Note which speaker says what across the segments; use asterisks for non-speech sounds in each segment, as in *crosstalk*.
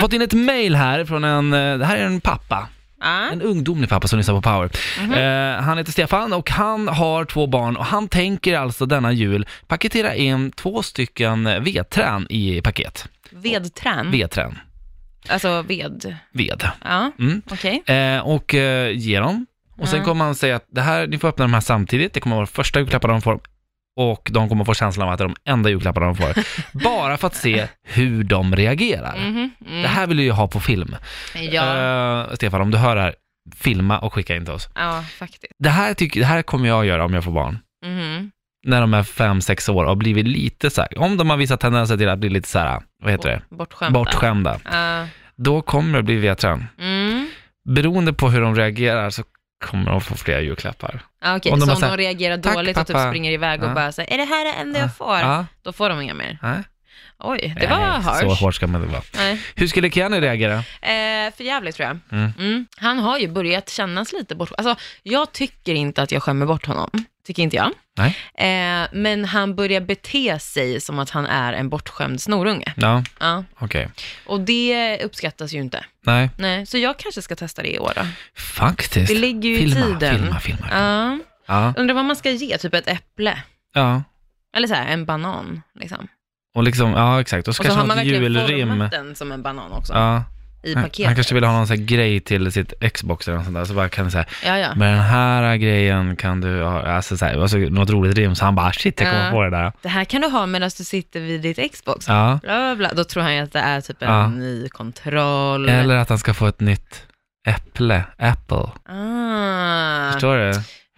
Speaker 1: Jag har fått in ett mail här från en, eh, det här är en pappa.
Speaker 2: Ja. Mhm.
Speaker 1: En ungdomlig pappa som lyssnar på Power. Eh, han heter Stefan och han har två barn och han tänker alltså denna jul paketera in två stycken eh, vedträn i paket.
Speaker 2: Vedträn?
Speaker 1: Vedträn,
Speaker 2: Alltså ved.
Speaker 1: ved.
Speaker 2: Ja,
Speaker 1: Mm.
Speaker 2: okej.
Speaker 1: Eh, och eh, ge dem. Och sen
Speaker 2: Mm.
Speaker 1: kommer han säga att det här, ni får öppna de här samtidigt, det kommer vara första julklapparna de får. Och de kommer få känslan av att det är de enda julklapparna de
Speaker 2: *laughs*
Speaker 1: får. bara för att se hur de reagerar.
Speaker 2: Mhm,
Speaker 1: Mm-hmm, mm. Det här vill du ju ha på film.
Speaker 2: mm. Ja,
Speaker 1: Eh, Stefan, om du hör det här, filma och skicka in till oss.
Speaker 2: ja faktiskt.
Speaker 1: Det här, tycker, det här kommer jag göra om jag får barn.
Speaker 2: Mhm.
Speaker 1: När de är fem sex år och har blivit lite så här, om de har visat tendenser till att bli lite så här, vad heter det,
Speaker 2: Bortskämda.
Speaker 1: bortskämda.
Speaker 2: Ja.
Speaker 1: Då kommer det bli vedträn.
Speaker 2: Mm.
Speaker 1: Beroende på hur de reagerar så kommer de få fler julklappar.
Speaker 2: Ja, okej,
Speaker 1: Om de
Speaker 2: så
Speaker 1: bara
Speaker 2: om
Speaker 1: så här,
Speaker 2: de reagerar
Speaker 1: "Tack,
Speaker 2: dåligt och typ
Speaker 1: pappa."
Speaker 2: springer iväg
Speaker 1: Ja.
Speaker 2: och bara säger är det här det enda jag får?
Speaker 1: Ja,
Speaker 2: Då får de inga mer.
Speaker 1: nej.
Speaker 2: Oj, det var
Speaker 1: Nej, Så
Speaker 2: harsh.
Speaker 1: hårt ska man inte vara.
Speaker 2: Nej.
Speaker 1: Hur skulle Kenny reagera?
Speaker 2: Eh, för jävligt tror jag.
Speaker 1: Mm.
Speaker 2: Mm. Han har ju börjat kännas lite bort. Alltså, jag tycker inte att jag skämmer bort honom. Tycker inte jag.
Speaker 1: Nej.
Speaker 2: Eh, men han börjar bete sig som att han är en bortskämd snorunge.
Speaker 1: Ja,
Speaker 2: Ja.
Speaker 1: okej.
Speaker 2: Och det uppskattas ju inte.
Speaker 1: Nej,
Speaker 2: Nej, så jag kanske ska testa det i år då.
Speaker 1: faktiskt.
Speaker 2: Det ligger ju i
Speaker 1: filma,
Speaker 2: tiden.
Speaker 1: Filma, filma, filma.
Speaker 2: Ja.
Speaker 1: Ja.
Speaker 2: Undrar vad man ska ge, typ ett äpple.
Speaker 1: ja.
Speaker 2: Eller så här, en banan. Liksom.
Speaker 1: Och liksom, ja exakt. Och så
Speaker 2: Och så
Speaker 1: kanske
Speaker 2: har man
Speaker 1: något
Speaker 2: verkligen
Speaker 1: julrim.
Speaker 2: format den som en banan också.
Speaker 1: Ja.
Speaker 2: I
Speaker 1: Han-
Speaker 2: paketet.
Speaker 1: Han kanske vill ha någon sån här grej till sitt Xbox eller något sånt där, så bara kan du säga
Speaker 2: Ja, ja.
Speaker 1: med den här grejen kan du ha, alltså, så här, alltså något roligt rim, så han bara shit jag kommer
Speaker 2: Ja.
Speaker 1: på det där.
Speaker 2: Det här kan du ha medan du sitter vid ditt Xbox.
Speaker 1: Ja.
Speaker 2: Bla, bla, bla. Då tror han ju att det är typ en
Speaker 1: Ja.
Speaker 2: ny kontroll.
Speaker 1: Eller att han ska få ett nytt äpple, apple.
Speaker 2: Ah.
Speaker 1: Förstår du?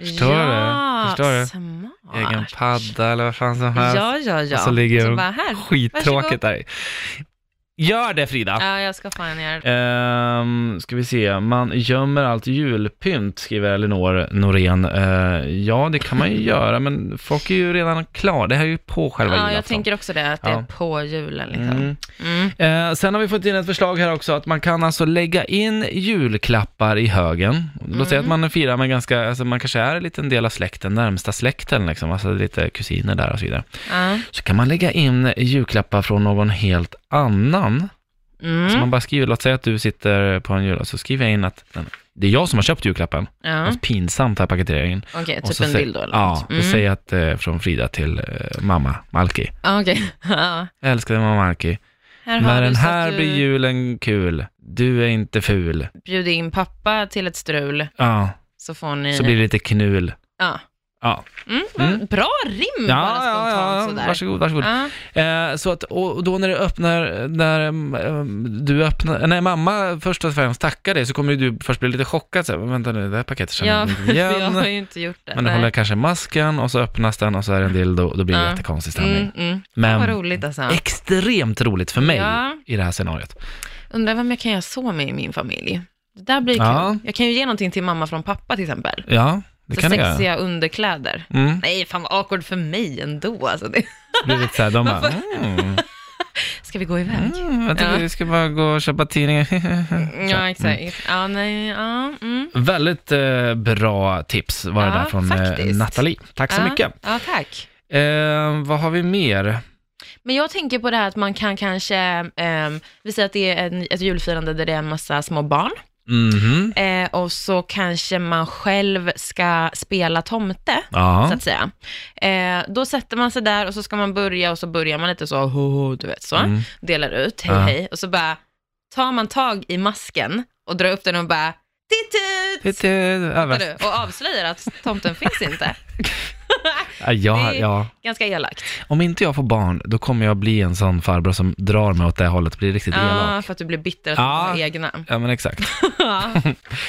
Speaker 1: Förstår du?
Speaker 2: ja,
Speaker 1: Förstår du?
Speaker 2: Smart.
Speaker 1: Egen padda eller vad fan som helst.
Speaker 2: Ja, ja, ja.
Speaker 1: Och så ligger de-
Speaker 2: bara här.
Speaker 1: Skittråkigt där. Gör det Frida!
Speaker 2: Ja, jag ska fan göra det.
Speaker 1: Ehm, ska vi se, man gömmer allt julpynt, skriver Elinor Norén. Eh, ja, det kan man ju göra, men folk är ju redan klara. Det här är ju på själva
Speaker 2: Ja, jag
Speaker 1: julafton.
Speaker 2: tänker också det, att det
Speaker 1: Ja.
Speaker 2: är på julen liksom.
Speaker 1: Mm.
Speaker 2: Mm.
Speaker 1: Eh, sen har vi fått in ett förslag här också, att man kan alltså lägga in julklappar i högen. Låt säga att
Speaker 2: Mm.
Speaker 1: man firar med ganska, alltså man kanske är en liten del av släkten, närmsta släkten liksom, alltså lite kusiner där och så vidare.
Speaker 2: Ja.
Speaker 1: Så kan man lägga in julklappar från någon helt annan. Så
Speaker 2: Mm.
Speaker 1: man bara skriver, låt säga att du sitter på en jul och så skriver jag in att den- det är jag som har köpt julklappen. Det är
Speaker 2: Ja.
Speaker 1: pinsamt här paketeringen.
Speaker 2: Okej,
Speaker 1: Mm. Och
Speaker 2: typ
Speaker 1: så
Speaker 2: en
Speaker 1: säger-
Speaker 2: bild då eller
Speaker 1: Ja,
Speaker 2: något.
Speaker 1: då
Speaker 2: mm.
Speaker 1: säger jag att, eh, från Frida till eh, mamma Malki.
Speaker 2: Ja, Okej. *laughs* Ja.
Speaker 1: Jag älskar dig mamma Malki.
Speaker 2: Här har
Speaker 1: Med
Speaker 2: du
Speaker 1: den
Speaker 2: så att
Speaker 1: här
Speaker 2: du
Speaker 1: blir julen kul. Du är inte ful.
Speaker 2: bjuder in pappa till ett strul
Speaker 1: Ja,
Speaker 2: så får ni...
Speaker 1: så blir det lite knul.
Speaker 2: ja.
Speaker 1: Ja,
Speaker 2: Mm, vad-
Speaker 1: Mm.
Speaker 2: Bra rim bara
Speaker 1: ja, ja,
Speaker 2: spontant
Speaker 1: ja.
Speaker 2: sådär.
Speaker 1: varsågod, varsågod.
Speaker 2: Ja.
Speaker 1: Eh, så att, och och då när du öppnar, när mm, mm, du öppnar, när mamma först och främst tackar dig så kommer ju du först bli lite chockad så här, vänta nu, det här paketet känner
Speaker 2: *laughs*
Speaker 1: jag
Speaker 2: Ja, för
Speaker 1: inte
Speaker 2: jag
Speaker 1: igen.
Speaker 2: har ju inte gjort det.
Speaker 1: Men du
Speaker 2: nej.
Speaker 1: håller kanske masken och så öppnas den och så är det en dildo då blir det
Speaker 2: Ja.
Speaker 1: jättekonstig stämning.
Speaker 2: mm, mm. Vad
Speaker 1: Men
Speaker 2: roligt alltså.
Speaker 1: extremt roligt för mig
Speaker 2: Ja.
Speaker 1: i det här scenariot.
Speaker 2: Undrar vem jag kan göra så med i min familj. Det där blir kul.
Speaker 1: Ja.
Speaker 2: Jag kan ju ge någonting till mamma från pappa till exempel.
Speaker 1: Ja, det
Speaker 2: så
Speaker 1: kan du göra.
Speaker 2: sexiga underkläder.
Speaker 1: Mm.
Speaker 2: Nej, fan vad awkward för mig ändå. Alltså det.
Speaker 1: Det blir lite så här, de
Speaker 2: Man *laughs*
Speaker 1: bara, mm,
Speaker 2: Ska vi gå iväg?
Speaker 1: mm, jag tycker
Speaker 2: Ja.
Speaker 1: vi ska bara gå och köpa tidningar. *laughs* Så.
Speaker 2: Ja, exakt. Ja, nej, ja, mm.
Speaker 1: Väldigt eh, bra tips var det
Speaker 2: Ja,
Speaker 1: där från eh,
Speaker 2: faktiskt.
Speaker 1: Nathalie. Tack så
Speaker 2: ja,
Speaker 1: mycket.
Speaker 2: Ja, tack.
Speaker 1: Eh, vad har vi mer?
Speaker 2: Men jag tänker på det här att man kan kanske, ehm, vi säger att det är en, ett julfirande där det är en massa små barn,
Speaker 1: Mhm.
Speaker 2: eh, och så kanske man själv ska spela tomte. så
Speaker 1: Ja.
Speaker 2: att säga. Eh, då sätter man sig där och så ska man börja och så börjar man lite så, ho, ho, du vet så,
Speaker 1: Mm.
Speaker 2: delar ut, hej
Speaker 1: Ja.
Speaker 2: hej, och så bara tar man tag i masken och drar upp den och bara, tittut!
Speaker 1: Lite över.
Speaker 2: Fattar du? Och avslöjar att tomten finns inte.
Speaker 1: Ja, ja, ja.
Speaker 2: Ganska elakt.
Speaker 1: Om inte jag får barn, då kommer jag bli en sån farbror som drar mig åt det hållet, blir riktigt elak. *laughs*
Speaker 2: Ja, för att du blir bitter att du
Speaker 1: Ja.
Speaker 2: har egna.
Speaker 1: Ja men exakt.
Speaker 2: Ja.